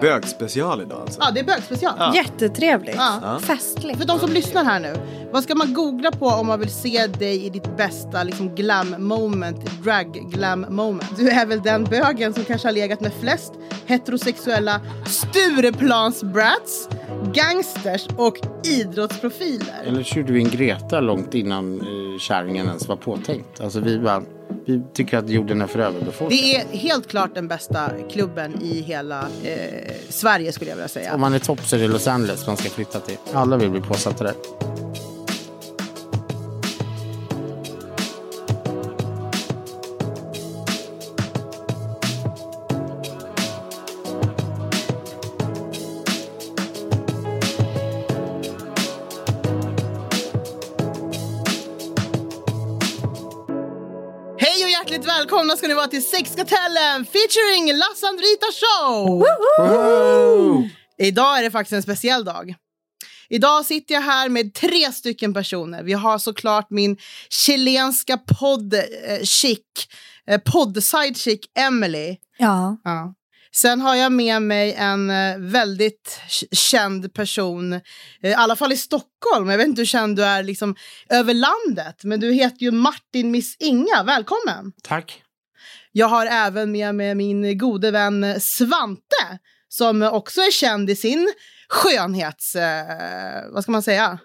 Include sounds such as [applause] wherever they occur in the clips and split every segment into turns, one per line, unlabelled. Bögspecial idag alltså.
Ja, det är bögspecial.
Ja.
Jättetrevligt.
Ja.
Festligt.
För de som lyssnar här nu, vad ska man googla på om man vill se dig i ditt bästa liksom, glam moment, drag glam moment? Du är väl den bögen som kanske har legat med flest heterosexuella Stureplansbrats, gangsters och idrottsprofiler.
Eller körde vi en Greta långt innan eh, kärringen ens var påtänkt. Alltså vi bara, vi tycker att jorden är för överbefolkad.
Det är helt klart den bästa klubben i hela eh, Sverige skulle jag vilja säga.
Om man är topp så är det Los Angeles man ska flytta till. Alla vill bli påsatta där.
Hej och hjärtligt välkomna ska ni vara till Sexkartellen featuring Lasse Andrita Show! Idag är det faktiskt en speciell dag. Idag sitter jag här med tre stycken personer. Vi har såklart min chilenska podd eh, chic, eh, podd-side chic Emily.
Ja.
Sen har jag med mig en eh, väldigt k- känd person, eh, i alla fall i Stockholm. Jag vet inte hur känd du är liksom, över landet, men du heter ju Martin Miss Inga. Välkommen!
Tack.
Jag har även med mig min gode vän Svante som också är känd i sin skönhets... Eh, vad ska man säga?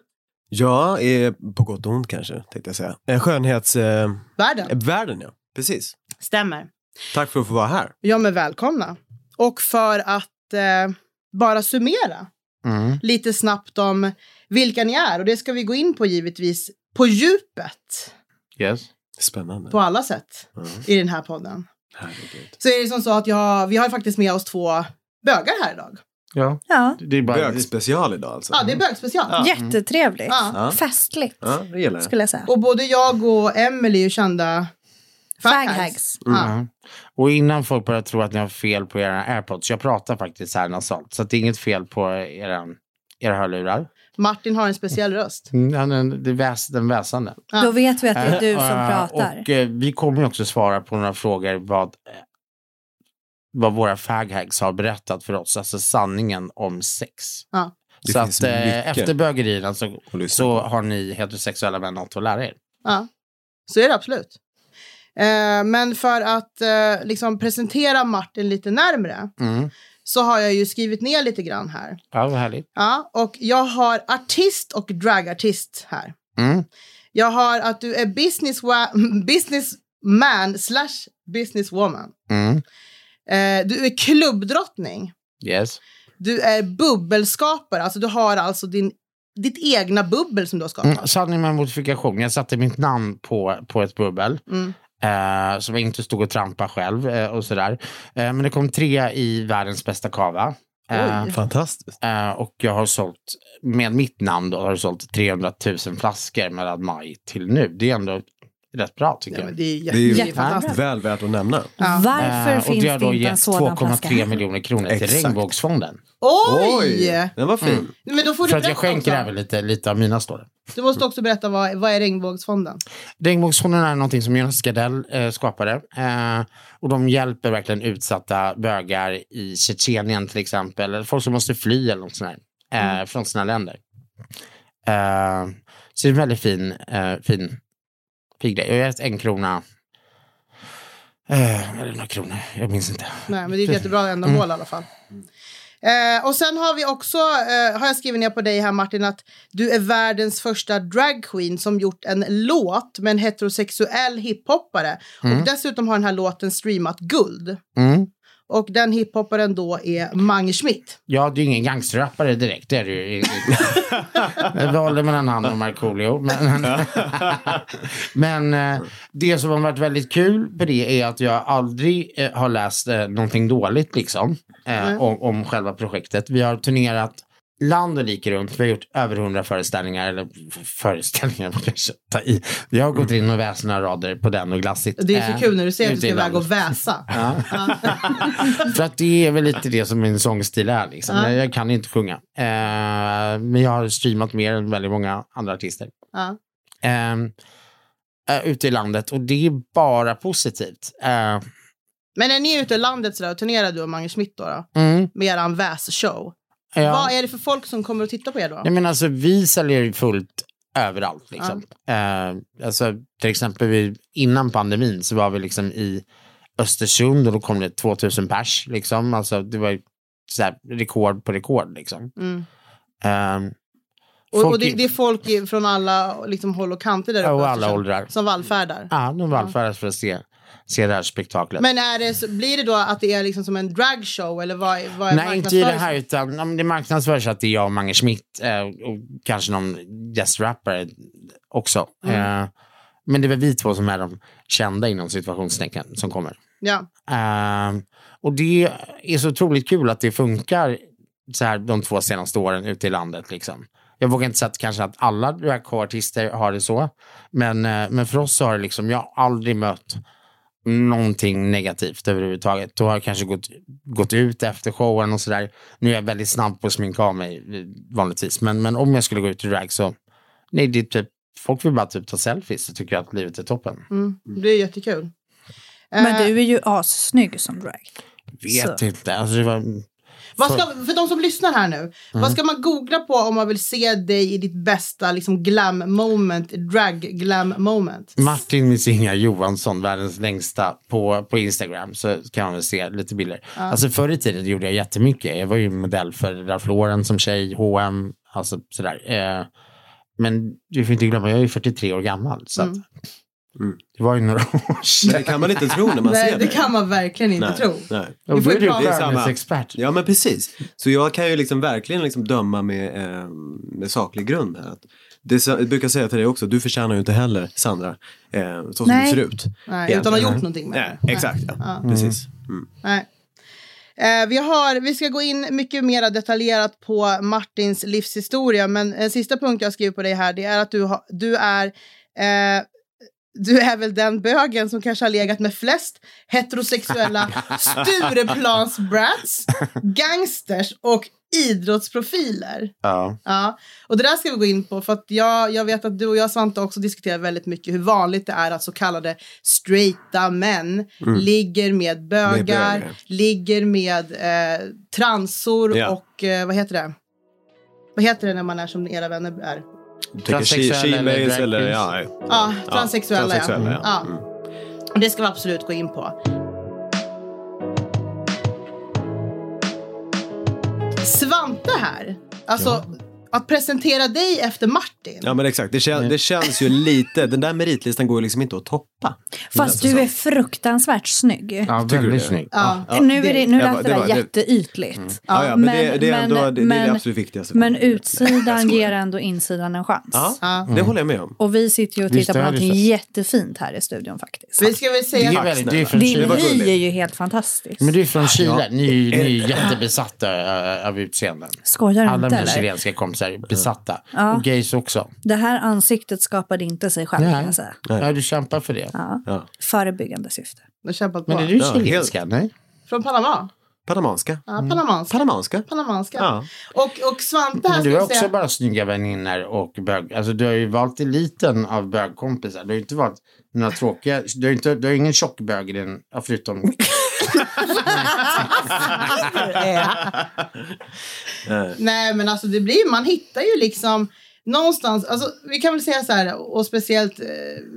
Jag är eh, på gott och ont kanske, tänkte jag säga. Eh, Skönhetsvärlden, eh,
Världen.
världen ja. Precis.
Stämmer.
Tack för att få vara här.
Ja, men välkomna. Och för att eh, bara summera
Mm.
lite snabbt om vilka ni är, och det ska vi gå in på givetvis på djupet,
Yes.
Spännande.
på alla sätt,
Mm.
i den här podden.
Herregud.
Så är det som så att jag, har- vi har faktiskt med oss två bögar här idag.
Ja.
ja.
Det är bara...
Bögspecial idag alltså.
Ja, det är bögspecial.
Ja.
Jättetrevligt.
Ja.
Ja.
Festligt,
Ja, det gillar jag.
skulle jag säga.
Och både jag och Emily är ju kända faghags.
Faghags.
Ja.
Ja. Mm. Och innan folk börjar tro att ni har fel på era airpods, jag pratar faktiskt här nasalt, så att det är inget fel på era, era hörlurar.
Martin har en speciell röst.
Mm, ja, den, det väs, den väsande.
Ja.
Då vet vi att det är du som
Eh,
pratar.
Och eh, vi kommer ju också svara på några frågor vad, eh, vad våra faghags har berättat för oss, alltså sanningen om sex.
Ja.
Det
så
finns
att eh,
mycket
efter bögerierna så,
att lyssna
så
på.
har ni heterosexuella män något att lära er.
Ja, så är det absolut. Eh, men för att eh, liksom presentera Martin lite närmre
Mm.
så har jag ju skrivit ner lite grann här.
Ja, vad härligt.
Ja, och jag har artist och dragartist här.
Mm.
Jag har att du är businesswa- [laughs] businessman slash businesswoman.
Mm.
Eh, du är klubbdrottning.
Yes.
Du är bubbelskapare. Alltså du har alltså din, ditt egna bubbel som du har skapat.
Mm. Sanning med modifikation. Jag satte mitt namn på, på ett bubbel.
Mm.
Eh, som jag inte stod och trampade själv eh, och sådär. Eh, men det kom tre i världens bästa kava. Eh,
Ah,
Oj.
Fantastiskt.
Eh, och jag har sålt, med mitt namn då, har jag sålt 300 000 flaskor mellan maj till nu. Det är ändå rätt bra tycker
Ja,
jag.
men det är ju
Det är ju-
jättefantastiskt.
Väl värt att nämna.
Ja.
Varför
Eh, och
finns
det har
det
då
inte en
gett
sådan flaska?
2,3 miljoner kronor till
Exakt.
Regnbågsfonden.
Oj! Mm.
Den var fin.
Men då får du
För att jag
berätta
skänker
också.
även lite, lite av mina står det.
Du måste också berätta vad, vad är regnbågsfonden?
Regnbågsfonden är någonting som Jonas Gardell eh, skapade. Eh, och de hjälper verkligen utsatta bögar i Tjetjenien till exempel. Eller folk som måste fly eller något sånt där, eh, från sina länder. Eh, så det är en väldigt fin, eh, fin, fin grej. Jag har gett en krona. Eh, eller några kronor, jag minns inte.
Nej, men det är ett jättebra ändamål i alla fall. Eh, och sen har vi också, eh, har jag skrivit ner på dig här Martin, att du är världens första dragqueen som gjort en låt med en heterosexuell hiphoppare. Och dessutom har den här låten streamat guld.
Mm.
Och den hiphopparen då är Mange Schmidt.
Ja, det är ju ingen gangsterrappare direkt. Det är
[laughs]
det ju. Jag valde mellan han och Markoolio. Men,
[laughs]
men eh, det som har varit väldigt kul med det är att jag aldrig eh, har läst eh, någonting dåligt liksom, eh,
Mm.
om, om själva projektet. Vi har turnerat land och like runt. Vi har gjort över hundra föreställningar, eller f- föreställningar [laughs] man kanske ta i. Vi har gått in och väst några rader på den och glassigt.
Det är så
eh,
kul när du säger att du
ute i
ska iväg
landet.
och
[laughs]
väsa.
För att det är väl lite det som min sångstil är. Liksom.
Ja.
Jag kan inte sjunga. Eh, men jag har streamat mer än väldigt många andra artister. Ehm,
Ja.
Eh, eh, ute i landet och det är bara positivt. Eh,
Men när ni är ute i landet sådär och turnerar du och Mange Schmidt då, då
Mm,
med eran väs-show.
ja.
Vad är det för folk som kommer att titta på er då?
Nej, men alltså, vi säljer ju fullt överallt. Liksom. Eh, alltså, till exempel vi, innan pandemin så var vi liksom i Östersund och då kom det 2000 pers. Liksom. Alltså, det var ju så här, rekord på rekord. Liksom.
Mm.
Eh,
Och,
folk
och det,
i-
det är folk i- från alla liksom, håll och kanter där
Ja,
uppe.
och alla
Östersund,
åldrar.
Som vallfärdar.
Ja, de vallfärdas för att se, se det här spektaklet.
Men är det, så- blir det då att det är liksom som en dragshow eller vad, är- vad är
Nej, inte i det här,
marknadsföringen?
utan om det marknadsförs att det är jag och Mange Schmidt eh, och kanske någon gästrappare också.
Mm.
Eh, men det är väl vi två som är de kända inom situationstecken som kommer.
Ja.
Eh, och det är så otroligt kul att det funkar så här de två senaste åren ute i landet. Liksom. Jag vågar inte säga att kanske att alla dragartister har det så, men, eh, men för oss har det liksom, jag har aldrig mött någonting negativt överhuvudtaget. Då har jag kanske gått, gått ut efter showen och sådär. Nu är jag väldigt snabb på att sminka av mig eh, vanligtvis, men, men om jag skulle gå ut i drag så, nej, det är typ, folk vill bara typ ta selfies och tycker att livet är toppen.
Mm. Det är jättekul.
Men
Eh,
du är ju assnygg som drag.
Vet
Så.
inte, alltså det var
Vad ska, för de som lyssnar här nu,
Mm.
vad ska man googla på om man vill se dig i ditt bästa liksom, glam moment, drag glam moment?
Martin Missinga Johansson, världens längsta, på, på Instagram så kan man väl se lite bilder. Alltså förr i tiden gjorde jag jättemycket. Jag var ju modell för Ralph Lauren som tjej, H&M, alltså sådär. Eh, men du får inte glömma, jag är ju 43 år gammal. Så att,
Mm.
Det var ju några år
Det [laughs]
sedan.
kan man inte tro när man
Nej,
ser det.
det kan man verkligen inte
Nej,
tro.
Nej.
Och
får
då är du
prata-
Det är samma.
skönhetsexpert.
Ja men precis. Så jag kan ju liksom verkligen liksom döma med, eh, med saklig grund här. Att Det, sa- jag brukar säga till dig också, du förtjänar ju inte heller Sandra, eh, så som
Nej.
du ser ut.
Nej, utan att ha
Egentligen.
gjort någonting med det.
Nej, exakt. Ja.
Ja.
Precis. Mm.
Nej. Eh, vi, har, vi ska gå in mycket mer detaljerat på Martins livshistoria, men en sista punkt jag skriver på dig här, det är att du, har- du är eh, du är väl den bögen som kanske har legat med flest heterosexuella Stureplansbrats, gangsters och idrottsprofiler.
Ja.
Ja, och det där ska vi gå in på för att jag, jag vet att du och jag Svante också diskuterar väldigt mycket hur vanligt det är att så kallade straighta män ligger med bögar,
Mm. Med bögar.
ligger med eh, transor
Ja.
och eh, vad heter det? Vad heter det när man är som era vänner är?
Du tänker
Transsexuell
she-
eller
she-males
drag
eller,
queens?
ja, ja.
Ja, transsexuella.
transsexuella,
ja. Mm.
ja.
Ja. Och Det ska vi absolut gå in på. Svante här, alltså att presentera dig efter Martin.
Ja men exakt, det, kän, det känns ju lite, den där meritlistan går ju liksom inte att toppa.
Fast du är fruktansvärt snygg.
Ja,
Tycker du
väldigt
det?
snygg.
Ja.
nu är det, nu
Jag
lät
bara- det
det, där
var- det- Mm.
jätteytligt.
Ja, ja, men, det, det, är ändå, det, det är det absolut viktigaste.
Men utsidan ger ändå insidan en chans.
Ja,
Ja.
det håller jag med om.
Och vi sitter ju och
Vi
tittar på
stödjer
någonting
sig.
jättefint här i studion faktiskt.
Vi ska väl
Det
säga
är
att
väldigt, det är
snälla.
från
Din
Mm. Det var
Chile.
hy
gulligt.
är ju helt fantastisk.
Men du är från Chile. Ni, är ju- ni är ju jättebesatta eh, av utseenden.
Skojar du
Alla
inte
mina
eller?
chilenska kompisar är besatta.
Ja.
Och gays också.
Det här ansiktet skapade inte sig själv kan
Nej.
jag säga.
Nej.
Ja, du kämpar för det.
Ja.
Ja.
Förebyggande syfte.
Jag har kämpat på.
Men är du
Ja,
chilenska? Nej.
Från Panama.
Panamanska.
Ja, panamanska.
Panamanska.
Panamanska.
Ja.
Och, och Svante här
Men
ska
du har
vi
också
säga.
bara snygga vänner och bög. Alltså du har ju valt eliten av bögkompisar. Du har ju inte valt några tråkiga. Du har, ju inte, du har ju ingen tjock bög i den, ja,
[laughs]
förutom...
Eh,
Nej men alltså det blir, man hittar ju liksom någonstans, alltså vi kan väl säga så här och speciellt eh,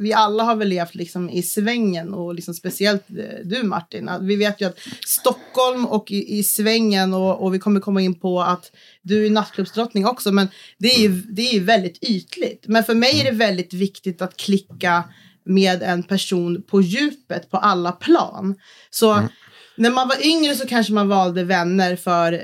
vi alla har väl levt liksom i svängen och liksom speciellt eh, du Martin. Att Vi vet ju att Stockholm och i, i svängen och, och vi kommer komma in på att du är nattklubbsdrottning också men det är ju det är ju väldigt ytligt. Men för mig är det väldigt viktigt att klicka med en person på djupet på alla plan. Så när man var yngre så kanske man valde vänner för,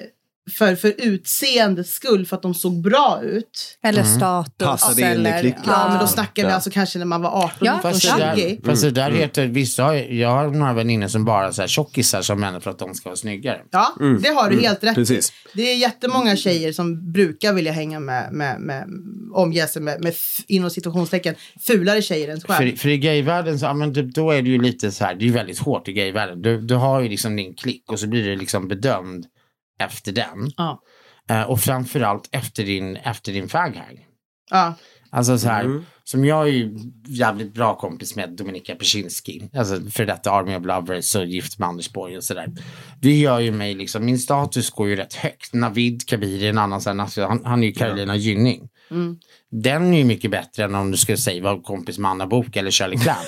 för, för utseendets skull, för att de såg bra ut.
Eller status.
Passade Mm. in i
eller,
klicken.
Ja, men då
Ja.
snackar vi
Ja.
alltså kanske när man var 18,
Ja,
19,
Fast det
20.
där, fast det
Mm.
där heter... Vissa har, jag har några vänner som bara så här tjockisar som människor för att de ska vara snyggare.
Ja, det har du helt rätt i.
Mm. Precis.
Det är jättemånga tjejer som brukar vilja hänga med, med, med omge sig med, med f- inom situationstecken, fulare tjejer än sig själv.
För, för i gayvärlden så, ja, men typ, då är det ju lite så här, det är ju väldigt hårt i gayvärlden. Du, du har ju liksom din klick och så blir du liksom bedömd efter den.
Ja.
Eh, och framförallt efter din, efter din faghang.
Ja.
Alltså så här, som jag är ju jävligt bra kompis med Dominika Peczynski, alltså för detta Army of Lovers och Gift med Anders Borg och sådär. Det gör ju mig liksom, min status går ju rätt högt. Navid Kabiri, en annan sån här, alltså, han, han är ju Carolina Gynning.
Mm.
Den är ju mycket bättre än om du skulle säga var kompis med Anna Bok eller Shirley Clamp.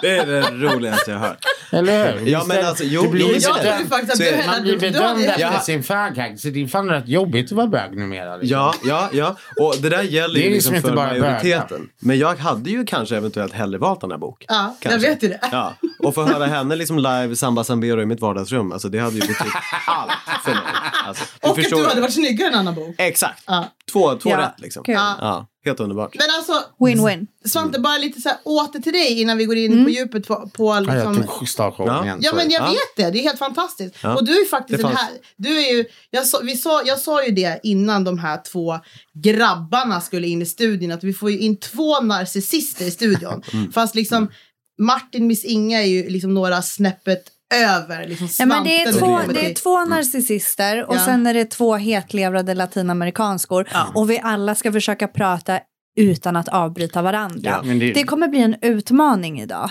Det är det roligaste jag har hört.
[laughs] eller hur?
Ja, men alltså, jo,
Det blir
jo,
ju
så
Jag
är
bedömt-
trodde faktiskt att
Så
du
är det.
hade...
man blir
du- du
bedömd
hade-
efter
Ja.
sin faghag, så det är fan rätt jobbigt att vara bög numera. liksom.
Ja, ja, ja. Och det där gäller
Det är
ju
ju
liksom
som inte
för
bara
majoriteten.
bögar.
Men jag hade ju kanske eventuellt hellre valt Anna Bok.
Ja, jag
Kanske.
vet ju det.
Ja. Och få höra henne liksom live samba sambero i mitt vardagsrum. Alltså det hade ju
[laughs]
betytt allt för mig. Alltså,
[laughs] Och att du
ju.
hade varit snyggare än Anna Book.
Exakt.
Ja.
Två, två
Ja,
rätt liksom.
kul.
Ja.
Ja, helt underbart.
Men alltså,
Win-win.
Svante, bara lite så här, åter till dig innan vi går in
Mm.
på djupet på, på
Ja, jag
liksom,
tog starkshowen
Ja.
igen.
Ja men jag
Ja.
vet det, det är helt fantastiskt.
Ja.
Och du är faktiskt
Det
en
fanns.
här, du är ju, jag sa, vi sa, jag sa ju det innan de här två grabbarna skulle in i studion, att vi får ju in två narcissister
[laughs]
i studion.
Mm.
Fast liksom Martin Miss Inga är ju liksom några snäppet över liksom
Ja, men det, är
Svante
två,
och
det.
det är två narcissister och
Ja.
sen är det två hetlevrade latinamerikanskor och vi alla ska försöka prata utan att avbryta varandra.
Men det-
det... kommer bli en utmaning idag.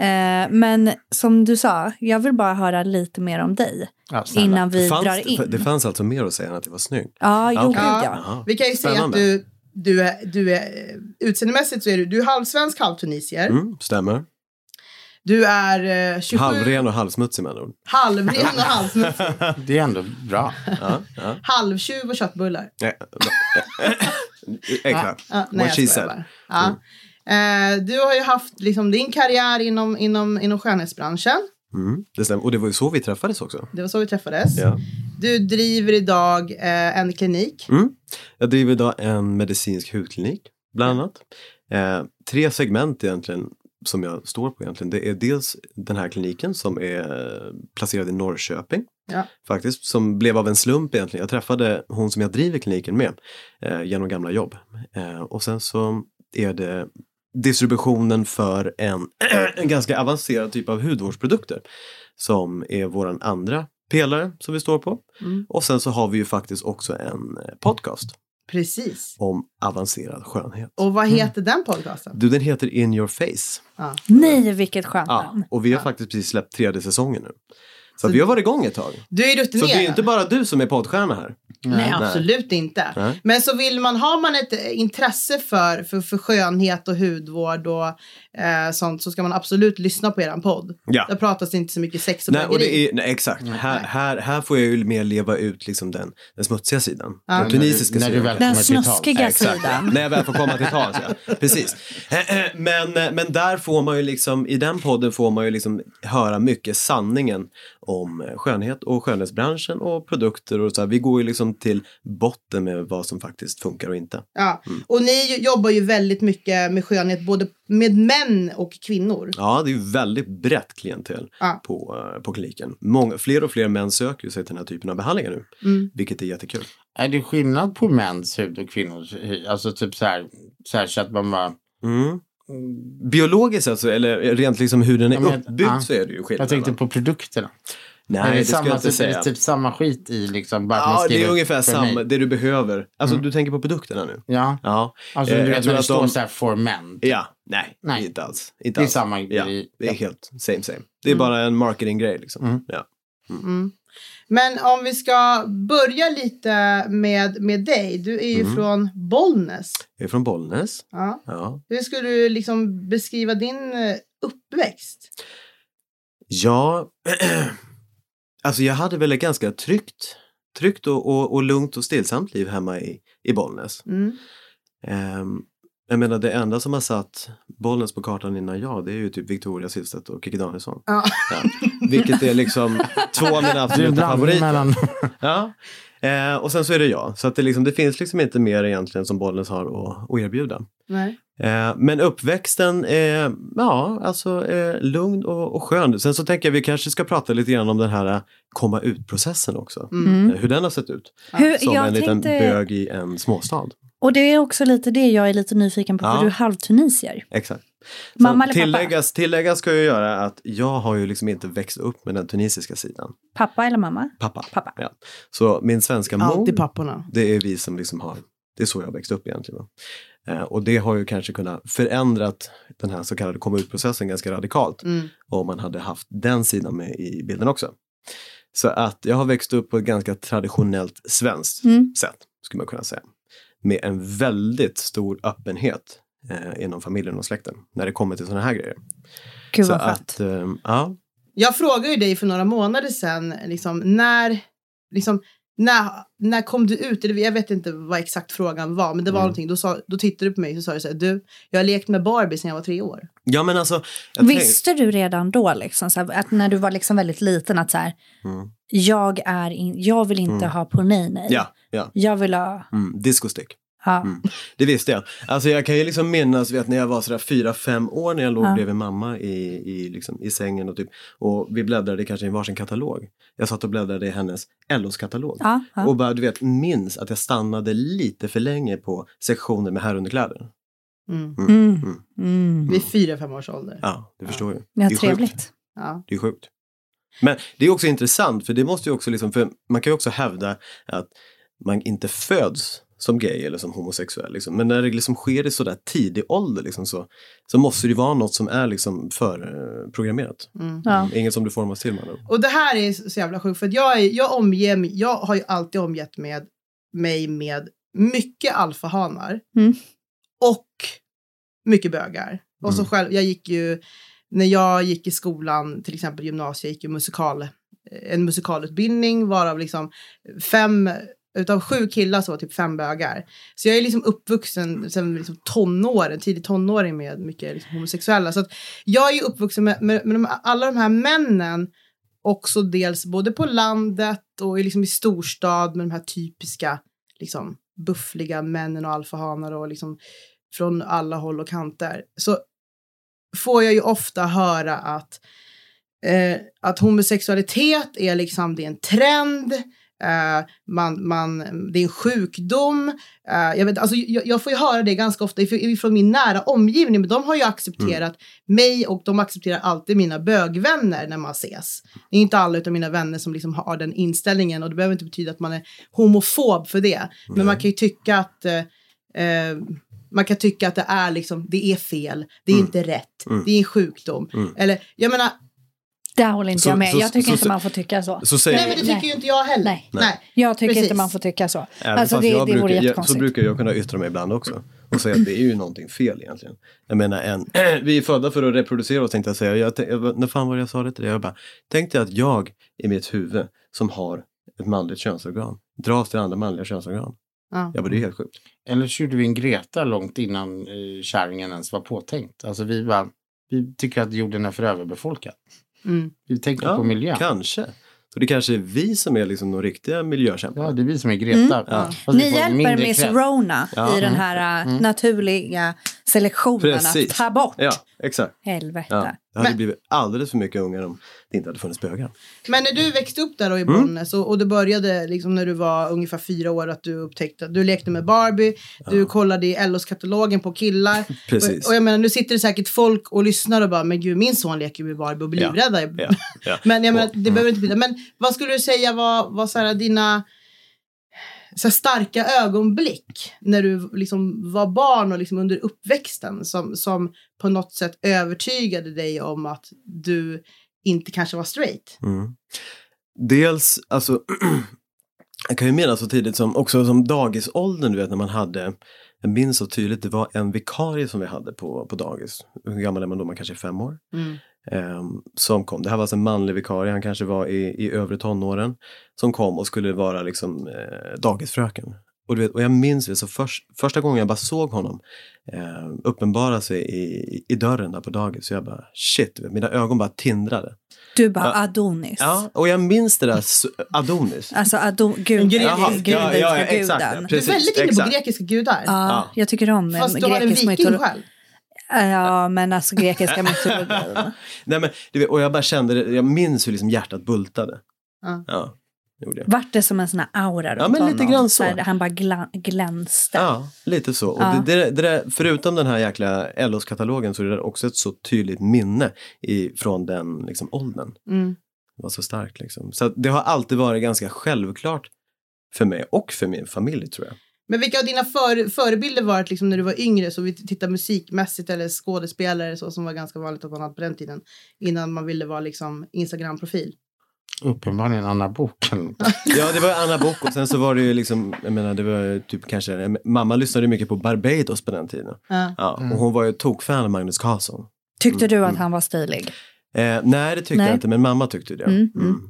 Eh, men som du sa, jag vill bara höra lite mer om dig
Ja, snälla.
innan vi
Det fanns,
drar in.
det fanns alltså mer att säga än att det var snygg.
Ja, jo,
Ja, okej.
gud, ja.
Jaha.
Vi kan ju säga att
Spännande.
du, du är, du är, utseendemässigt så är du, du är halvsvensk, halvtunisier.
Mm, stämmer.
Du är eh, 27,
Halvren och halvsmutsig med andra ord. [laughs]
halvren och halvsmutsig.
Det är ändå bra.
Ja, ja.
Halvtjuv och köttbullar.
Eh, [laughs] Exakt.
Ja, nej,
What
jag
she
skojar
said.
bara. Ja.
Mm.
Eh, du har ju haft liksom, din karriär inom, inom, inom skönhetsbranschen.
Mm, det stämmer. Och det var ju så vi träffades också.
Det var så vi träffades.
Ja.
Du driver idag eh, en klinik.
Mm. Jag driver idag en medicinsk hudklinik, bland annat. Eh, tre segment egentligen som jag står på egentligen. Det är dels den här kliniken som är eh, placerad i Norrköping.
Ja.
Faktiskt, som blev av en slump egentligen. Jag träffade hon som jag driver kliniken med eh, genom gamla jobb. Eh, och sen så är det distributionen för en, [clears throat] en ganska avancerad typ av hudvårdsprodukter som är våran andra pelare som vi står på.
Mm.
Och sen så har vi ju faktiskt också en eh, podcast
Precis.
om avancerad skönhet.
Och vad heter den podcasten?
Du, den heter In your face.
Ja.
Nej, vilket skönt
Ja,
namn.
och vi har faktiskt precis släppt tredje säsongen nu. Så, att vi har varit igång ett tag.
Du är
Så det
rutinerad.
är inte bara du som är poddstjärna här.
Nej,
Nej.
absolut inte.
Nej.
Men så vill man, har man ett eh, intresse för, för, för skönhet och hudvård och eh, sånt så ska man absolut lyssna på eran podd.
Ja.
Där pratas det inte så mycket sex och
Nej, och
bögeri.
det är, nej, exakt. Här, här, här får jag ju mer leva ut liksom den, den smutsiga sidan.
Ja.
Den tunisiska
När du- när du
sidan.
väl-
Den
kommer till tals.
snuskiga
Exakt,
sidan.
när jag väl får komma till tals. Ja. Precis. [clears throat] Men, men där får man ju liksom, i den podden får man ju liksom höra mycket sanningen om skönhet och skönhetsbranschen och produkter och så här. Vi går ju liksom till botten med vad som faktiskt funkar och inte.
Ja. Och ni ju- jobbar ju väldigt mycket med skönhet, både med män och kvinnor.
Ja, det är ju väldigt brett klientel
Ja.
på, eh, på kliniken. Många, fler och fler män söker ju sig till den här typen av behandlingar nu, vilket är jättekul.
Är det skillnad på mäns hud och kvinnors hy? Alltså typ så här, så, här, så att man bara...
Mm. Biologiskt sett, så, eller rent liksom hur den är
Ja, men-
uppbyggd,
ja.
så är det ju skillnad.
Jag tänkte
va?
på produkterna.
Nej,
är
det,
det,
ska
samma,
jag inte
typ, är
säga.
det typ samma skit i liksom? Bara att man
Ja, det är
skriver
ungefär
för
samma,
mig? Mm.
det du behöver. Alltså du tänker på produkterna nu?
Ja,
Ja.
alltså
Eh,
du
jag
vet
tror
när det
att
står
de-
så här for men.
Ja, nej,
Nej.
inte alls. Inte
Det är
alls.
samma Mm.
ja,
grej.
Det är helt same same. Det är bara en marketinggrej liksom. Ja.
Mm. Men om vi ska börja lite med, med dig. Du är ju från Bollnäs.
Jag är från Bollnäs.
Ja.
Ja.
Hur skulle du liksom beskriva din eh, uppväxt?
ja. [clears throat] alltså jag hade väl ett ganska tryggt, tryggt och, och, och lugnt och stillsamt liv hemma i, i Bollnäs.
Mm.
Ehm, jag menar det enda som har satt Bollnäs på kartan innan jag det är ju typ Victoria Silvstedt och Kikki Danielsson.
Ja.
Ja. Vilket är liksom två av mina
Det är en
absoluta
blandning
favoriter.
mellan...
Ja. Eh, och sen så är det jag. Så att det, liksom, det finns liksom inte mer egentligen som Bollnäs har att, att erbjuda.
Nej.
Eh, men uppväxten, eh, ja, alltså eh, lugn och, och skön. Sen så tänker jag vi kanske ska prata lite grann om den här eh, komma ut-processen också.
Mm.
Eh, Hur den har sett ut.
Hur,
Som
jag
en liten
tänkte,
bög i en småstad.
Och det är också lite det jag är lite nyfiken på,
Ja.
för du är halvtunisier.
Exakt.
Mamma eller pappa?
tilläggas, tilläggas ska ju göra att jag har ju liksom inte växt upp med den tunisiska sidan.
Pappa eller mamma?
Pappa.
Pappa.
Ja. Så min svenska mor,
Alltid papporna.
det är vi som liksom har, det är så jag växte upp egentligen. Eh, och det har ju kanske kunnat förändrat den här så kallade komma ut-processen ganska radikalt.
Mm.
om man hade haft den sidan med i bilden också. Så att jag har växt upp på ett ganska traditionellt svenskt
Mm.
sätt, skulle man kunna säga. Med en väldigt stor öppenhet eh, inom familjen och släkten när det kommer till sådana här grejer.
Gud
så
vad skönt.
att, eh, ja,
Jag frågade ju dig för några månader sedan, liksom, när, liksom, när, när kom du ut? Eller Jag vet inte vad exakt frågan var, men det var
Mm.
någonting. Då, sa, då tittade du på mig och sa du så här, du, jag har lekt med Barbie sedan jag var tre år.
ja men alltså. jag tänk-
Visste du redan då, liksom, så här, att när du var liksom väldigt liten, att så här,
Mm.
jag, är in, jag vill inte
Mm.
ha på nej, nej.
Ja, ja.
Jag vill ha...
Mm, discostick.
Ja.
Mm. Det visste jag. Alltså jag kan ju liksom minnas vet, när jag var sådär fyra, fem år när jag låg
Ja.
bredvid mamma i, i, liksom, i sängen och, typ, och vi bläddrade kanske i varsin katalog. Jag satt och bläddrade i hennes LOs katalog.
Ja, ja.
Och bara du vet, minns att jag stannade lite för länge på sektioner med herrunderkläder.
Mm.
Mm.
Mm.
Mm.
Vid fyra, fem års ålder.
Ja, du förstår ju.
Ja,
Det är
trevligt.
Ja.
Det är sjukt. Men det är också intressant för det måste ju också liksom, för man kan ju också hävda att man inte föds som gay eller som homosexuell. Liksom. Men när det liksom sker i sådär tidig ålder liksom, så, så måste det ju vara något som är liksom förprogrammerat.
Mm.
Ja.
Inget som du formas till med andra ord.
Och det här är så jävla sjukt för att jag, är, jag, omger, mig- jag har ju alltid omgett med, mig med mycket alfahanar
Mm.
och mycket bögar. Och så
Mm.
själv, jag gick ju, när jag gick i skolan, till exempel gymnasiet, jag gick ju musikal, eh, en musikalutbildning varav liksom fem utav sju killar så var typ fem bögar. Så jag är liksom uppvuxen sen liksom tonåren, tidig tonåring med mycket liksom homosexuella. Så att jag är ju uppvuxen med, med, med de, alla de här männen också dels både på landet och i liksom i storstad med de här typiska liksom, buffliga männen och alfahanar och liksom från alla håll och kanter. Så får jag ju ofta höra att, eh, att homosexualitet är liksom, det är en trend, eh, man, man, det är en sjukdom. Eh, jag, vet, alltså, jag, jag får ju höra det ganska ofta ifrån ifrån min nära omgivning, men de har ju accepterat mig och de accepterar alltid mina bögvänner när man ses. Det är inte alla utav mina vänner som liksom har den inställningen och det behöver inte betyda att man är homofob för det. Men man kan ju tycka att eh, eh, man kan tycka att det är liksom, det är fel, det är
Mm.
inte rätt,
Mm.
det är en sjukdom.
Mm.
Eller, jag menar,
Där håller inte
Så-
jag med.
så-
jag tycker
så-
inte
så-
man får tycka så.
Så säger
nej men det tycker
Nej.
ju inte jag heller.
Nej.
nej.
Jag tycker inte
precis.
man får tycka så.
Även
Alltså,
fast
det,
jag
det vore
brukar, jag, så
jättekonstigt.
brukar jag kunna yttra mig ibland också. Och säga att det är ju någonting fel egentligen. Jag menar, en, [clears throat] vi är födda för att reproducera oss tänkte jag säga. Jag, tän- jag, bara, när fan var det jag sa det till dig? Jag bara, tänk dig att jag i mitt huvud som har ett manligt könsorgan dras till andra manliga könsorgan.
Ja.
Jag bara, det är helt sjukt.
Eller så gjorde vi en Greta långt innan eh, kärringen ens var påtänkt. Alltså vi bara, vi tycker att jorden är för överbefolkad.
Mm.
Vi tänker
Ja,
på miljön.
Kanske. Så det kanske är vi som är liksom de riktiga miljökämpar.
Ja, det är vi som är Greta.
Ja.
Fast vi
Mm. Ni
får mindre
hjälper Miss
krets.
Rona
Ja. Mm.
i den här äh, naturliga selektionen
Precis.
att ta bort.
Ja, exakt.
Helvete.
Ja. Det hade
Men-
blivit alldeles för mycket ungar om det inte hade funnits bögar.
Men när du växte upp där då i
Mm.
Bollnäs och, och det började liksom när du var ungefär fyra år att du upptäckte att du lekte med Barbie, du kollade i LOs-katalogen på killar.
Precis.
Och, och jag menar nu sitter det säkert folk och lyssnar och bara men gud min son leker med Barbie och blir
Ja.
livrädda.
Ja, ja.
Men jag menar, det
Mm.
behöver inte betyda. Men vad skulle du säga var, var så här, dina så här, starka ögonblick när du liksom var barn och liksom under uppväxten som, som på något sätt övertygade dig om att du inte kanske var straight?
Mm. Dels, alltså, [clears throat] jag kan ju minnas så tidigt som också som dagisåldern, du vet när man hade, jag minns så tydligt, det var en vikarie som vi hade på, på dagis. Hur gammal är man då? Man kanske är fem år. ehm, som kom. Det här var alltså en manlig vikarie, han kanske var i, i övre tonåren, som kom och skulle vara liksom eh, dagisfröken. Och, du vet, och jag minns det, så förs- första gången jag bara såg honom eh, uppenbara sig i, i, i dörren där på dagis, så jag bara shit, du vet, mina ögon bara tindrade.
Du bara
Ja.
Adonis.
Ja, och jag minns det där s- Adonis. [laughs]
Alltså Adon gud,
grekisk-
Jaha,
guden,
ja, ja, ja,
guden.
exakt, ja,
ja,
Du är
precis,
väldigt inne
exakt.
på grekiska gudar.
Ja.
jag tycker om
Fast
en
du har en
grekisk
viking
mytologi.
själv.
Ja, men
[laughs]
alltså grekiska mytologin.
Nej, men, du vet, och jag bara kände det, jag minns hur liksom hjärtat bultade.
Ja.
Ja. Gjorde jag.
Vart det som en sån här aura runt
Ja, men lite
honom?
grann så.
här, han bara gla- glänste.
Ja, lite så. Och
Ja.
det, det, det där, förutom den här jäkla LOs-katalogen så är det där också ett så tydligt minne i, från den liksom, åldern.
Mm.
Det var så starkt liksom. Så att det har alltid varit ganska självklart för mig och för min familj tror jag.
Men vilka av dina för, förebilder var det liksom när du var yngre? Så vi tittar musikmässigt eller skådespelare så som var ganska vanligt att man hade på den tiden. Innan man ville vara liksom Instagram-profil.
Uppenbarligen Anna Boken.
Ja, det var Anna Bock och sen så var det ju liksom, jag menar det var ju typ kanske, mamma lyssnade ju mycket på Barbados på den tiden.
Ja.
Ja, och
Mm.
hon var ju tokfan av Magnus Carlsson.
Tyckte du att
Mm.
han var stilig?
Eh, nej, det tyckte
Nej.
jag inte, men mamma tyckte det.
Mm, mm.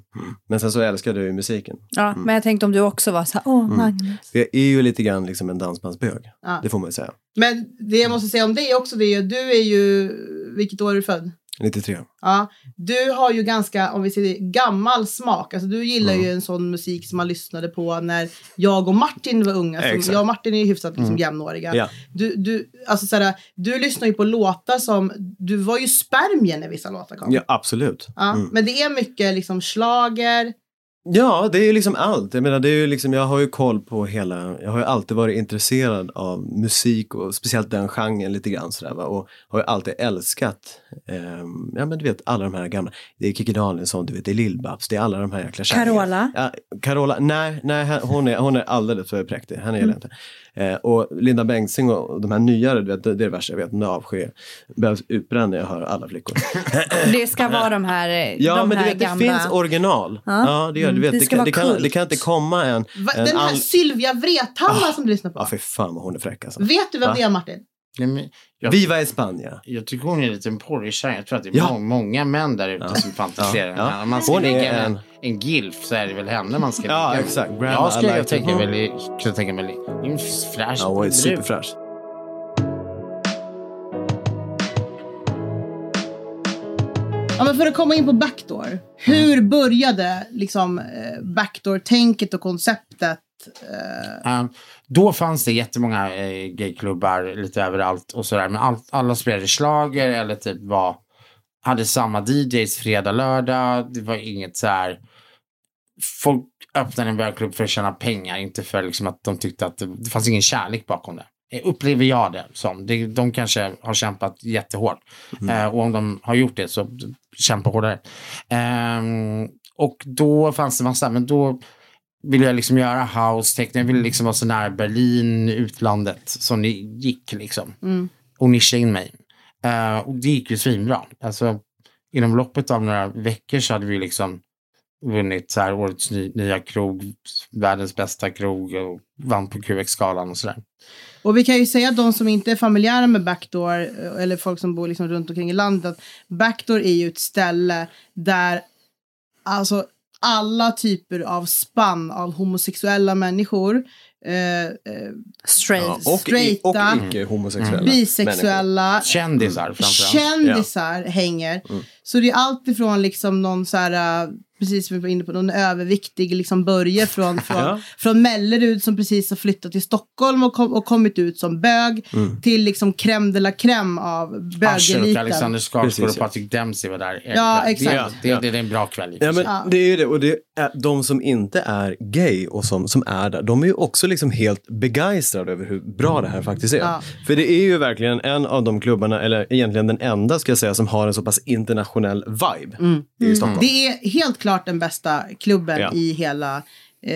Men sen så älskade jag ju musiken.
Ja, men jag tänkte om du också var så här, åh,
Mm.
Magnus.
Jag är ju lite grann liksom en dansbandsbög,
Ja.
det får man ju säga.
Men det jag måste säga om dig också det är ju, du är ju, vilket år är du född?
93.
Ja, du har ju ganska, om vi säger det, gammal smak. Alltså du gillar ju en sån musik som man lyssnade på när jag och Martin var unga. Som,
Exakt. Mm.
jag och Martin är ju hyfsat liksom, jämnåriga.
Ja.
Du, du, alltså, såhär, du lyssnar ju på låtar som, du var ju spermier när vissa låtar kom.
Ja, absolut.
Ja,
Mm.
Men det är mycket liksom slager.
Ja, det är ju liksom allt. Jag menar, det är ju liksom, jag har ju koll på hela, jag har ju alltid varit intresserad av musik och speciellt den genren lite grann sådär va. Och har ju alltid älskat, ehm, ja men du vet alla de här gamla, det är Kikki Danielsson, du vet det är Lill-Babs, det är alla de här jäkla kärringarna.
Carola?
Ja, Carola, nej, nej han- hon, är, hon är alldeles för präktig. Henne
Mm.
gillar jag inte. Eh, och Linda Bengtzing och och de här nyare, du vet, det det är det värsta jag vet. Nu avskyr jag. Behövs utbränd när jag hör alla
[laughs]
flickor.
Det ska vara de här,
Ja,
de
men du
här
vet,
gamla...
det finns original.
Ja. Mm,
Ja, det gör det. Du vet,
Det
det,
ska
kan, det,
vara
kan, det
kult.
kan inte komma en...
Va,
en
den här
all-
Sylvia Vrethammar
Ah.
som du lyssnar på.
Ja, fy fan vad hon är fräck alltså.
Vet du vem
Ah.
det är Martin?
Nej, men Jag,
Viva España.
jag tycker hon är en liten porrig tjej. Jag tror att det är
Ja.
må- många män där ute
Ja.
som fantiserar.
Ja.
Ja. Om man ska
Hon är
lägga en,
en-
en gilf så är det väl henne man ska
Ja,
lägga.
exakt. Grandma,
Jag skulle
I
jag
like
tänka
you.
väl, i- kunna tänka mig en fräsch
Ja, hon är
brud.
superfräsch.
Ja, men för att komma in på Backdoor. Hur
Mm.
började liksom, eh, Backdoor-tänket och konceptet? Eh,
Ehm, då fanns det jättemånga eh, gayklubbar lite överallt och sådär. Men allt, alla spelade schlager eller typ var, hade samma DJs fredag, lördag. Det var inget så här. Folk öppnade en bögklubb för att tjäna pengar, inte för liksom att de tyckte att det, det fanns ingen kärlek bakom det. Eh, Upplever jag det som. Det, de kanske har kämpat jättehårt. Eh, och om de har gjort det så kämpa hårdare. Ehm, och då fanns det massa, men då ville jag liksom göra house techno. Jag ville liksom vara så nära Berlin, utlandet, som det gick liksom.
Mm.
Och nischa in mig. Eh, och det gick ju svinbra. Alltså, inom loppet av några veckor så hade vi liksom vunnit så här årets ny, nya krog, världens bästa krog och vann på QX-skalan och sådär.
och vi kan ju säga att de som inte är familjära med Backdoor eh, eller folk som bor liksom runt omkring i landet. Att Backdoor är ju ett ställe där alltså, alla typer av spann av homosexuella människor eh, eh,
Strays.
Ja, och i- och
straighta,
Mm.
icke-homosexuella. människor.
bisexuella,
Kändisar framförallt.
Mm.
Mm.
kändisar hänger. Så det är allt ifrån liksom någon så här, äh, precis som vi var inne på, någon överviktig liksom Börje
[laughs]
från, från,
Ja.
från Mellerud som precis har flyttat till Stockholm och, kom, och kommit ut som bög till liksom crème de la crème av
Aschel Mm. och
bögeliten.
Alexander Skarsgård
Precis,
och
ja.
Patrik Dempsey var där.
Ja, exakt.
Det, det, det, det är en bra kväll. i och för
Ja, men
sig.
Ja.
Det är ju det. Och det är, de som inte är gay och som, som är där, de är ju också liksom helt begeistrade över hur bra det här faktiskt är.
Ja.
För det är ju verkligen en av de klubbarna, eller egentligen den enda ska jag säga, som har en så pass internationell vibe. Det är ju Stockholm.
Det är helt klart den bästa klubben
Ja.
i hela eh,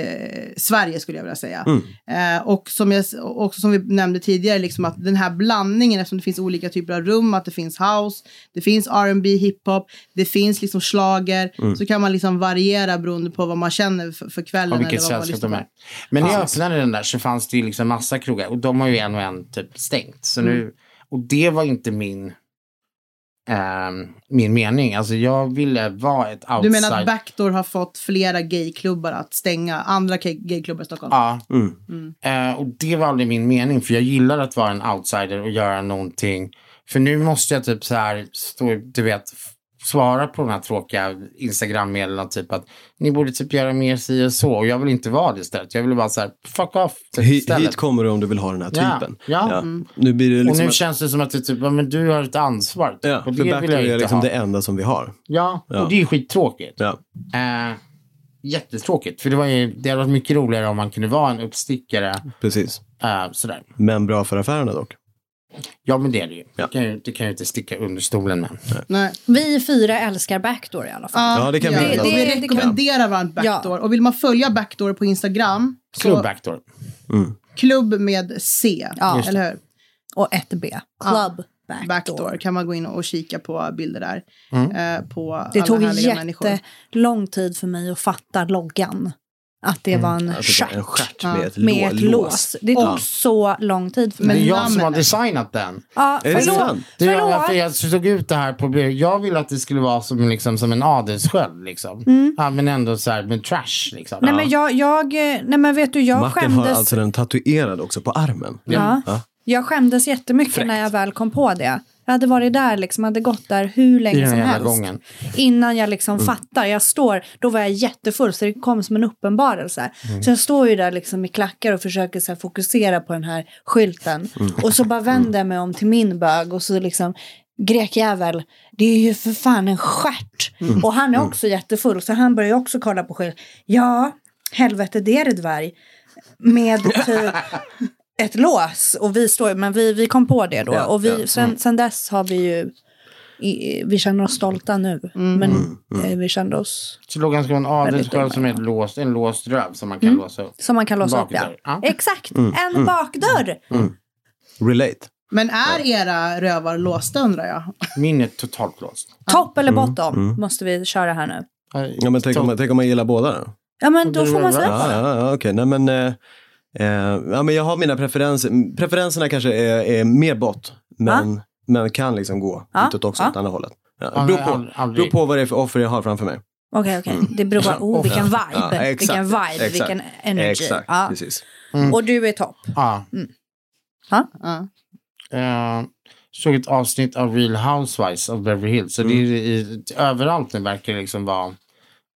Sverige skulle jag vilja säga. Eh, och som, jag, s- och också som vi nämnde tidigare, liksom att den här blandningen, eftersom det finns olika typer av rum, att det finns house, det finns R&B, hiphop, det finns liksom schlager, så kan man liksom variera beroende på vad man känner för, för kvällen.
Och vilket
eller vad man
sällskap
lyssnar
de
på.
är. Men när jag öppnade den där så fanns det ju liksom massa krogar och de har ju en och en typ stängt. Så
Mm.
nu, och det var inte min, ehm, min mening. Alltså jag ville vara ett outside.
Du menar att Backdoor har fått flera gayklubbar att stänga, andra gay- gayklubbar i Stockholm?
Ja.
Mm.
Eh, och det var aldrig min mening för jag gillar att vara en outsider och göra någonting. För nu måste jag typ så här, stå, du vet, f- svara på de här tråkiga Instagram-meddelandena typ att ni borde typ göra mer si och så. Och jag vill inte vara det istället. Jag vill bara så här, fuck off. Typ,
Hit,
istället.
hit kommer du om du vill ha den här
Ja,
typen.
ja.
Nu blir det
Och
liksom...
nu
att-
känns det som att det typ, ja, men du har ett ansvar. Typ.
Ja,
och
för
det vill
Backdoor
jag inte
är liksom
ha.
det enda som vi har.
Ja,
Ja.
och det är skittråkigt.
Ja.
Eh, jättetråkigt. För det, var ju, det hade varit mycket roligare om man kunde vara en uppstickare.
Precis.
eh, sådär.
Men bra för affärerna dock.
Ja, men det är det ju.
Ja.
Det, kan ju det kan ju inte sticka under stolen med.
Nej.
Vi fyra älskar Backdoor i alla fall.
Ja, det kan vi
vi
göra.
Och
Det-
vi
det-
rekommenderar varmt Backdoor. Och vill man följa Backdoor på Instagram,
Club
så
backdoor.
klubb med C,
Ja. Just
eller hur?
Och ett B. Club Backdoor.
Backdoor kan man gå in och kika på bilder där. Eh, på
Det
alla
tog
härliga människor.
jättelång tid för mig att fatta loggan. Att det var en
Alltså, en
stjärt
stjärt med ett,
med ett lås.
lås.
Det tog
Ja.
så lång tid för
Det är
mig.
Men
jag som har
namnet.
designat den.
Ja,
Är det
förlåt.
sant?
Det var, för
förlåt.
jag såg ut det här på bild. Jag ville att det skulle vara som, liksom, som en adelssköld. Liksom. Ja, men ändå så här med trash. Liksom.
Mm. Nej men jag, jag, eh, nej men vet du, jag
Macken har
skämdes.
alltså den tatuerad också på armen.
Ja.
Ja.
Jag skämdes jättemycket när jag väl kom på det. Jag hade varit där, liksom, hade gått där hur
I
länge
den
som
jävla
helst.
gången. Mm.
Innan jag liksom fattar. Jag står, då var jag jättefull så det kom som en uppenbarelse.
Mm.
Så jag står ju där liksom i klackar och försöker så här fokusera på den här skylten.
Mm.
Och så bara vänder jag mig om till min bög och så liksom Grekjävel, det är ju för fan en stjärt.
Mm.
Och han är också jättefull så han börjar ju också kolla på skylten. Ja, helvete det är det dvärg.
[laughs]
Med typ ett lås och vi står men vi, vi kom på det då
Ja,
och vi,
ja.
Mm.
sen, sen dess har vi ju i, vi känner oss stolta nu men eh, vi känner oss
Så lågan ska vara en adelssköld som är ett låst, en låst röv som man kan
Mm.
låsa upp.
som man kan låsa upp ja.
Bakdörr, ja.
exakt en bakdörr
Relate.
Men är era rövar låsta undrar jag?
Min är totalt låst.
topp eller bottom måste vi köra här nu
Ja, men tänk, om man, tänk om man gillar båda då?
ja men då får man säga
Ja, ja, ja, okej. Nej, men, eh, eh, ja, men jag har mina preferenser. Preferenserna kanske är, är mer bort, men, men kan liksom gå
Ja,
utåt också,
ja.
åt andra hållet. Ja,
Ja,
det beror,
nej,
på,
ald- aldrig.
beror på vad det är för offer jag har framför mig.
okej okej det beror på oh, vilken vibe
Ja, exakt,
vilken vibe
exakt,
vilken energy
Exakt,
ja.
precis.
och du är topp
Ja.
Ja.
Eh, såg ett avsnitt av Real Housewives of Beverly Hills. Så det
Mm.
är, i, överallt nu verkar det liksom vara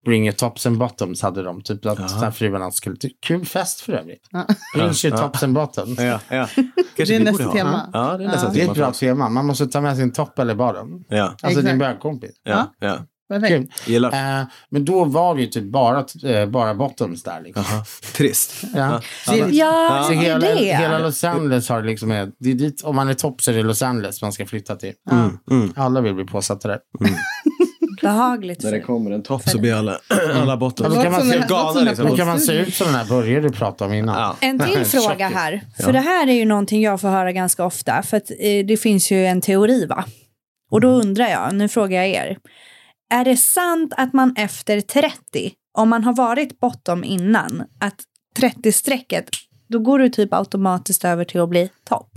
Bring your tops and bottoms hade de. Typ att så här fruarna skulle... ty- Kul fest för övrigt.
Ja.
Bring your tops and bottoms.
Ja, ja. Kanske
Det
vi
är nästa
borde ha.
tema.
Ja, det är nästa
Det är
tema.
ett bra
faktiskt.
tema. Man måste ta med sin topp eller bottom.
Ja,
Alltså
Exakt.
din bögkompis.
ja, ja.
Perfekt.
Kul.
Gillar.
Eh, men då var det ju typ bara, eh, bara bottoms där. Liksom.
Aha. Trist.
Ja.
ja,
Så
det är
hela, hela
det
Los Angeles har liksom, ett- det är dit, om man är topp så är det Los Angeles man ska flytta till.
Mm,
Alla vill bli påsatta där.
behagligt
När det
för-
kommer en topp så blir alla, [clears throat] alla botten
Ja, då kan man se-
galna liksom.
Då kan man se ut som den här började du prata om innan.
Ja.
En
[laughs]
till fråga här. För det här är ju någonting jag får höra ganska ofta. För att eh, det finns ju en teori va? Och
Mm.
då undrar jag, nu frågar jag er. Är det sant att man efter 30, om man har varit bottom innan, att 30-strecket, då går du typ automatiskt över till att bli topp?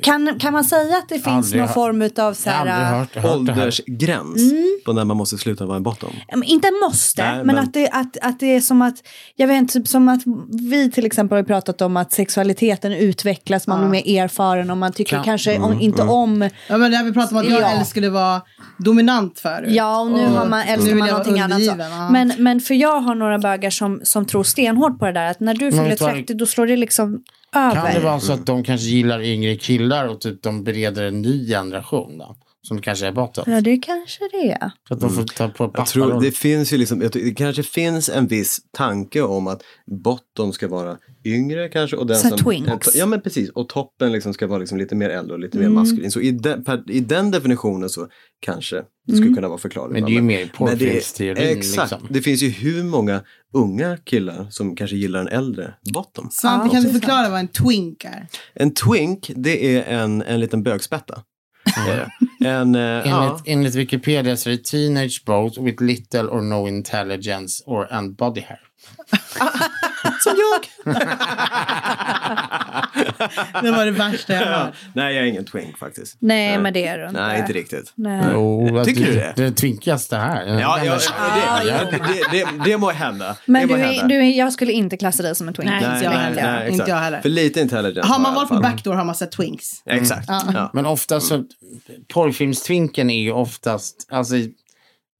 Kan, kan man säga att det finns
Aldrig
någon
hört-
form av så
Jag har aldrig
här,
hört, hört det här.
Åldersgräns
Mm.
på när man måste sluta vara en bottom.
Men Inte måste,
Nej,
men,
men-
Att, det, att, att det är som att, jag vet inte, typ som att vi till exempel har ju pratat om att sexualiteten utvecklas, man blir mer erfaren och man tycker
Ja.
kanske om, inte om,
Ja, men det här vi pratade om att jag
Ja.
eller skulle vara dominant förut.
ja och nu har man, älskar
vill
man
jag vara
någonting annat. Så.
undergiven, ja.
Men, men för jag har några bögar som, som tror stenhårt på det där, att när du fyller
vet du vad?
30 då slår det liksom över.
Kan det vara så att de kanske gillar yngre killar och typ de bereder en ny generation då? Som kanske är bottom.
Ja, det kanske det är.
Så att de får ta på
Jag tror, det
papparollen.
finns ju liksom, jag tror, det kanske finns en viss tanke om att botten ska vara yngre kanske. Och den
Så här
som,
twinks.
en to- Ja men precis, och toppen liksom ska vara liksom lite mer äldre och lite
Mm.
mer maskulin. Så i, den- per, i den definitionen så kanske det
Mm.
skulle kunna vara förklaringen.
Men det är ju mer i
Men det är-
porrfilmsteorin.
Exakt,
Liksom.
det finns ju hur många unga killar som kanske gillar en äldre botten.
Svante,
Ja,
kan
det
du
är
förklara vad en twink är?
En twink, det är en, en liten bögspätta. Är det. En, eh, ja.
Enligt, enligt Wikipedia så är det teenage both with little or no intelligence or and body hair.
Som jag!
[laughs]
[laughs]
Det var det värsta jag hört.
Nej, jag är ingen twink faktiskt.
Nej, men det är det inte.
Nej, inte riktigt.
Nej.
Oh,
Eh, Tycker du det?
Det tvinkas det här.
Ja, ja,
Ah,
det, det, det, det, det må hända. det
Men
må
du, är-
hända.
du, är- jag skulle inte klassa dig som en twink.
Nej,
nej,
inte jag
nej,
heller.
nej,
Inte
exakt.
jag heller.
För lite intelligence
Har man
jag i
varit på
alla fall.
backdoor har man sett twinks.
Ja, Exakt. Ja.
Men oftast så, porrfilmstvinken är ju oftast, alltså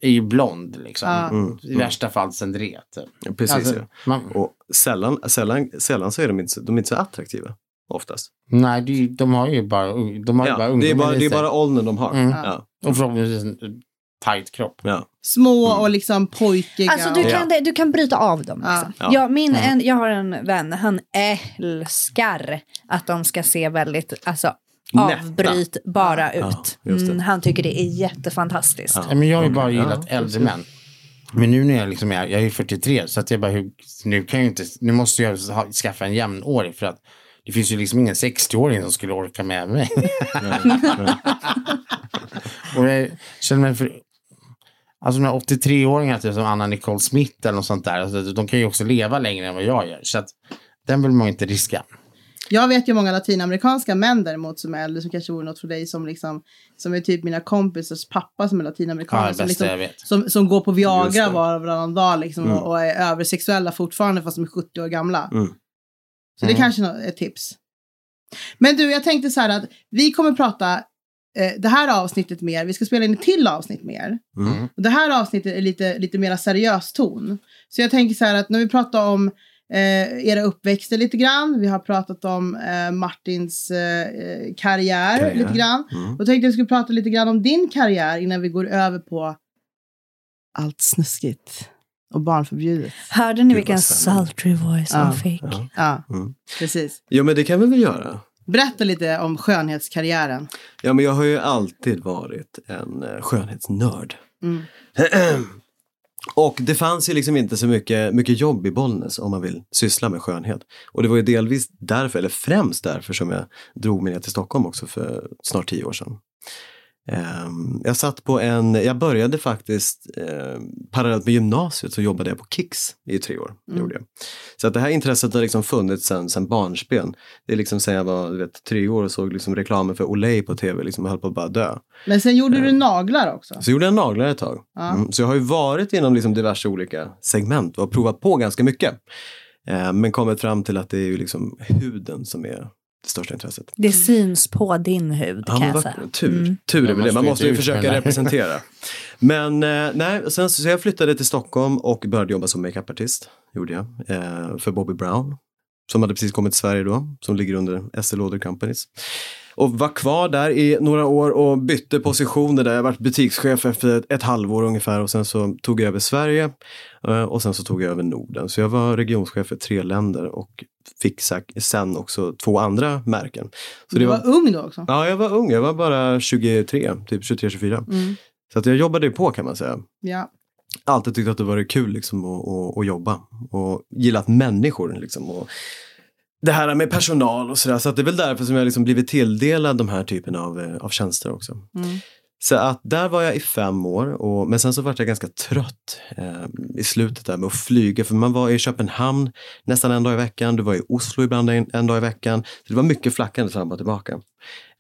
är ju blond liksom.
Mm,
I värsta fall cendré. Typ.
Precis,
Alltså,
ja.
man,
Och sällan, sällan, sällan så är de inte, så- de är inte så attraktiva. Oftast.
nej, det är ju- de har ju bara, de har ju bara
Ja, det, är
ungdomen
bara,
i
det är
sig.
bara åldern de har. Ja.
Och förhoppningsvis tajt kropp.
Ja.
Små och liksom pojkiga.
Alltså du
och-
kan, du kan bryta av dem. Liksom.
Ja. Mm.
Jag, min, en, jag har en vän, han älskar att de ska se väldigt alltså,
Nätta.
avbrytbara ut.
just det.
Mm, han tycker det är jättefantastiskt.
Ja.
Ja.
Ja, men jag har ju bara
Okej,
gillat äldre män. Men nu när jag liksom är, jag är ju 43, så att jag bara, hur, nu kan jag ju inte, nu måste jag ha, skaffa en jämnårig för att det finns ju liksom ingen 60-åring som skulle orka med mig. [laughs] och jag känner mig för, alltså de här 83-åringarna typ som Anna Nicole Smith eller något sånt där, alltså, de kan ju också leva längre än vad jag gör. Så att den vill man ju inte riska.
Jag vet ju många latinamerikanska män däremot som är äldre som kanske vore något för dig som liksom som är typ mina kompisars pappa som är latinamerikaner.
Ja, det
som,
bästa
liksom,
jag vet.
Som, som går på
Just
Viagra
det.
var och varannan dag liksom, och, och är översexuella fortfarande fast de är 70 år gamla.
Mm.
Så
Mm.
det kanske är nå- ett tips. Men du, jag tänkte så här att vi kommer prata eh, det här avsnittet mer. Vi ska spela in ett till avsnitt mer.
Mm.
Och det här avsnittet är lite, lite mer seriös ton. Så jag tänker så här att när vi pratar om eh, era uppväxter lite grann. Vi har pratat om eh, Martins eh, eh, karriär,
Karriär.
lite grann.
Mm.
Och tänkte jag skulle prata lite grann om din karriär innan vi går över på allt snuskigt och barnförbjudet.
Hörde ni
Gud,
vilken
vad spännande.
sultry voice
Ja.
han fick?
Ja.
Ja,
Mm.
precis.
Jo, men det kan vi väl göra.
Berätta lite om skönhetskarriären.
Ja, men jag har ju alltid varit en eh, skönhetsnörd.
Mm. [clears throat]
Och det fanns ju liksom inte så mycket, mycket jobb i Bollnäs om man vill syssla med skönhet. Och det var ju delvis därför, eller främst därför, som jag drog mig ner till Stockholm också för snart tio år sedan. Ehm, Jag satt på en, jag började faktiskt eh, parallellt med gymnasiet så jobbade jag på Kicks i tre år.
Mm.
Gjorde jag. Så att det här intresset har liksom funnits sedan sen barnsben. Det är liksom sen jag var du vet, tre år och såg liksom reklamen för Olay på tv liksom, och höll på att bara dö.
Men sen gjorde du naglar också.
Så gjorde jag naglar ett tag.
Ja.
Mm. Så jag har ju varit inom liksom diverse olika segment och provat på ganska mycket. Eh, men kommit fram till att det är ju liksom huden som är det största intresset.
Det syns på din hud
Ja,
kan
men
jag
vad,
säga.
tur.
Mm.
Tur är
Man
väl det. Man
måste ju
måste ju
inte
försöka
utmärka.
representera.
[laughs]
Men eh, nej, sen så så jag flyttade till Stockholm och började jobba som makeupartist. Gjorde jag. Eh, för Bobby Brown. Som hade precis kommit till Sverige då. Som ligger under Estée Lauder Companies. Och var kvar där i några år och bytte positioner där. Jag varit butikschef efter ett, ett halvår ungefär och sen så tog jag över Sverige eh, och sen så tog jag över Norden. Så jag var regionschef för tre länder och fick sak- sen också två andra märken. Så
du var, ung då också.
Ja, jag var ung. Jag var bara 23, typ 23-24.
Mm.
Så att jag jobbade ju på kan man säga.
Ja.
Alltid tyckt att det varit kul liksom, att, att, att jobba och gillat människor. Liksom, och det här med personal och sådär. Så att det är väl därför som jag liksom blivit tilldelad de här typen av, eh, av tjänster också.
Mm.
Så att där var jag i fem år, och, men sen så vart jag ganska trött eh, i slutet där med att flyga. För man var i Köpenhamn nästan en dag i veckan, du var i Oslo ibland en, en dag i veckan. Så det var mycket flackande fram och tillbaka.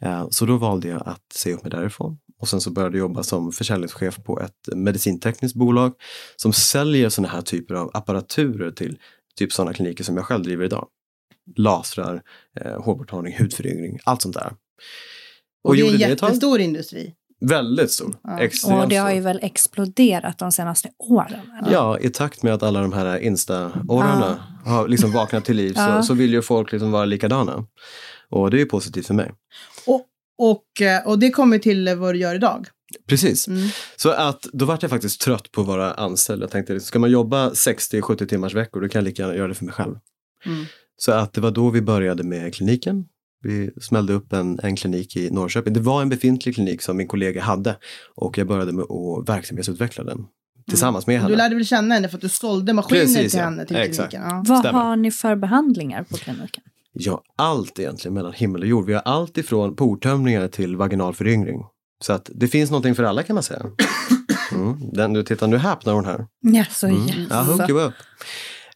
Eh, så då valde jag att säga upp mig därifrån. Och sen så började jag jobba som försäljningschef på ett medicintekniskt bolag som säljer såna här typer av apparaturer till typ sådana kliniker som jag själv driver idag. Lasrar, eh, hårborttagning, hudföryngring, allt sånt där.
Och, det är en
gjorde ett tag.
jättestor industri.
Väldigt stor.
Ja.
Extremt
Och det har ju
stor.
väl exploderat de senaste åren. eller?
alltså- Ja, i takt med att alla de här Insta-orrarna har liksom vaknat till liv
Ja.
så, så vill ju folk liksom vara likadana. Och det är ju positivt för mig.
Och, och, eh, och det kommer till vad du gör idag.
Precis.
Mm.
Så att då vart jag faktiskt trött på att vara anställd. Jag tänkte, liksom, ska man jobba 60-70 timmars veckor, då kan jag lika gärna göra det för mig själv.
Mm.
Så att det var då vi började med kliniken. Vi smällde upp en, en klinik i Norrköping. Det var en befintlig klinik som min kollega hade och jag började med att verksamhetsutveckla den tillsammans med henne.
Mm. Du lärde väl känna henne för att du sålde maskiner
Precis,
till
ja.
henne till
Exakt.
kliniken. Ja.
Vad
Stämmer.
har ni för behandlingar på kliniken?
Ja, allt egentligen mellan himmel och jord. Vi har allt ifrån portömningar till vaginal föryngring. Så att det finns någonting för alla kan man
[coughs]
säga. Mm. Den du tittar, nu häpnar hon här.
Ja, så
Mm. I hook
jaså.
you up.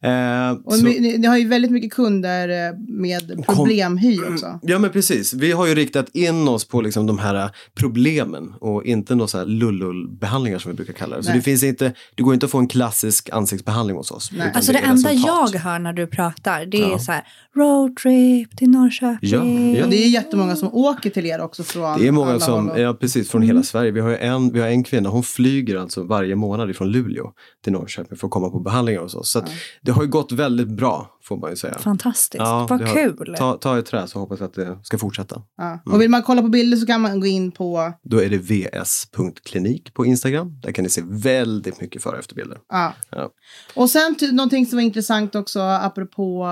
Eh,
Och
så-
ni, ni- ni har ju väldigt mycket kunder eh, med problemhy också.
Ja men precis, vi har ju riktat in oss på liksom de här problemen och inte några så här lullullbehandlingar som vi brukar kalla det. Så
Nej.
det, finns inte, det går inte att få en klassisk ansiktsbehandling hos oss.
Nej.
utan
Alltså det,
är
enda
resultat.
jag hör när du pratar det är
Ja.
så här roadtrip till Norrköping.
Ja, ja.
Och det är jättemånga som åker till er också från
Det är många
alla Mm.
som,
håll och-
ja precis, från hela Sverige. Vi har, ju en, vi har en kvinna, hon flyger alltså varje månad ifrån Luleå till Norrköping för att komma på behandlingar hos oss. Så att det har ju gått väldigt bra, får man ju säga.
Fantastiskt.
Ja,
Vad
det har-
kul.
Ta, ta i trä så hoppas jag att det ska fortsätta.
Ja. Och vill man kolla på bilder så kan man gå in på...
Då är det vs.klinik på Instagram. Där kan ni se väldigt mycket före och efterbilder.
Ja.
Ja.
Och sen ty- någonting som var intressant också apropå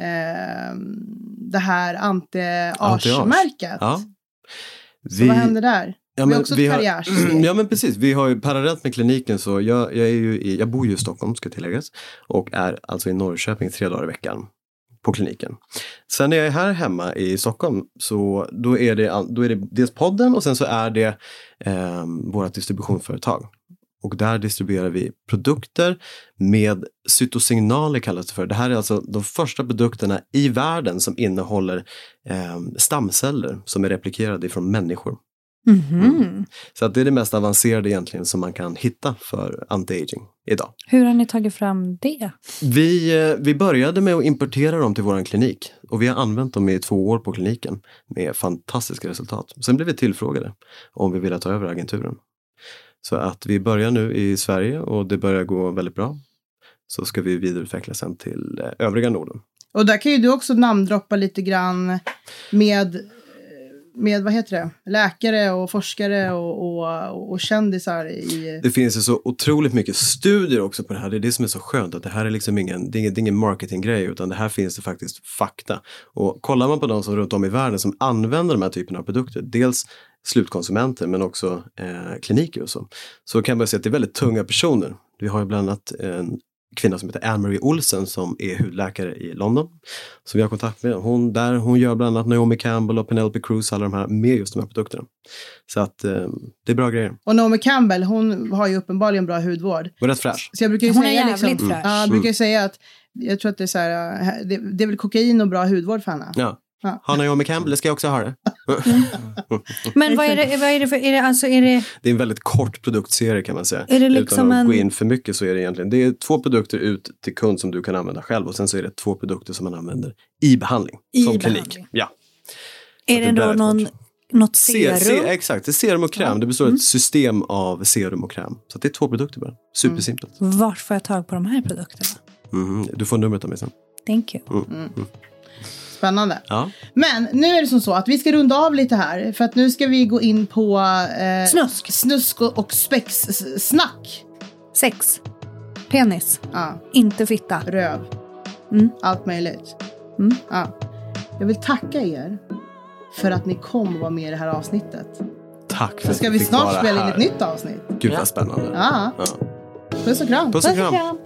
eh, det här anti-age-märket.
Ja.
Så vad händer där?
Ja,
Det är också ett karriärssteg.
[clears throat] Mm, Ja men precis, vi har ju parallellt med kliniken så jag, jag, är ju i, jag bor ju i Stockholm ska tilläggas och är alltså i Norrköping tre dagar i veckan på kliniken. Sen när jag är här hemma i Stockholm så då är det, all- då är det dels podden och sen så är det eh, vårt distributionsföretag. Och där distribuerar vi produkter med cytosignaler kallas det för. Det här är alltså de första produkterna i världen som innehåller eh, stamceller som är replikerade från människor.
Mhm.
Så att det är det mest avancerade egentligen som man kan hitta för anti-aging idag.
Hur har ni tagit fram det?
Vi, eh, vi började med att importera dem till vår klinik och vi har använt dem i två år på kliniken med fantastiska resultat. Sen blev vi tillfrågade om vi ville ta över agenturen. Så att vi börjar nu i Sverige och det börjar gå väldigt bra. Så ska vi vidareutveckla sen till eh, övriga Norden.
Och där kan ju du också namndroppa lite grann med, med vad heter det? läkare och forskare och, och, och kändisar. I,
Det finns ju så otroligt mycket studier också på det här. Det är det som är så skönt. Att det här är liksom ingen, det är ingen, det är ingen marketinggrej utan det här finns det faktiskt fakta. Och kollar man på de som runt om i världen som använder de här typerna av produkter. Dels slutkonsumenter men också eh, kliniker och så. Så kan man se att det är väldigt tunga personer. Vi har ju bland annat en kvinna som heter Anne-Marie Olsen som är hudläkare i London. Som vi har kontakt med. Hon, där, hon gör bland annat Naomi Campbell och Penelope Cruz, alla de här, med just de här produkterna. Så att eh, det är bra grejer.
och Naomi Campbell, hon har ju uppenbarligen bra hudvård.
Och rätt fräsch.
Så jag brukar ju
Hon är
säga
jävligt
liksom,
fräsch.
Ja, jag brukar ju säga att jag tror att det är så här, äh, det, det är väl kokain och bra hudvård för henne.
Ja.
Ja.
Har Naomi Campbell, ska jag också ha det?
Mm. Men vad är det, vad är det för, är det, alltså, är det,
[laughs] Det är en väldigt kort produktserie kan man säga.
Är det liksom
Utan att
en-
gå in för mycket så är det egentligen, det är två produkter ut till kund som du kan använda själv och sen så är det två produkter som man använder i behandling.
I
som
behandling.
klinik. Ja.
är det
det där
då
är
någon,
svårt.
något
Se, se,
serum? Mm.
exakt, det är serum och kräm. Det består av ett system av serum och kräm. Så att det är två produkter bara. Supersimpelt.
Vart får jag tag på de här produkterna?
Mhm. Du får numret av mig sen.
Thank you.
Spännande.
Ja.
Men nu är det som så att vi ska runda av lite här. För att nu ska vi gå in på eh,
Snusk.
snusk och, och spexsnack.
Sex. Penis.
Ja,
Inte fitta.
röv.
Mm.
Allt möjligt.
Mm.
Ja. Jag vill tacka er för att ni kom och var med i det här avsnittet.
Tack för
Så
att
ska
du
vi
fick
snart
vara
spela in
här.
ett nytt avsnitt.
Gud vad spännande.
Ja,
Ja.
puss och kram.
Puss och kram.
kram.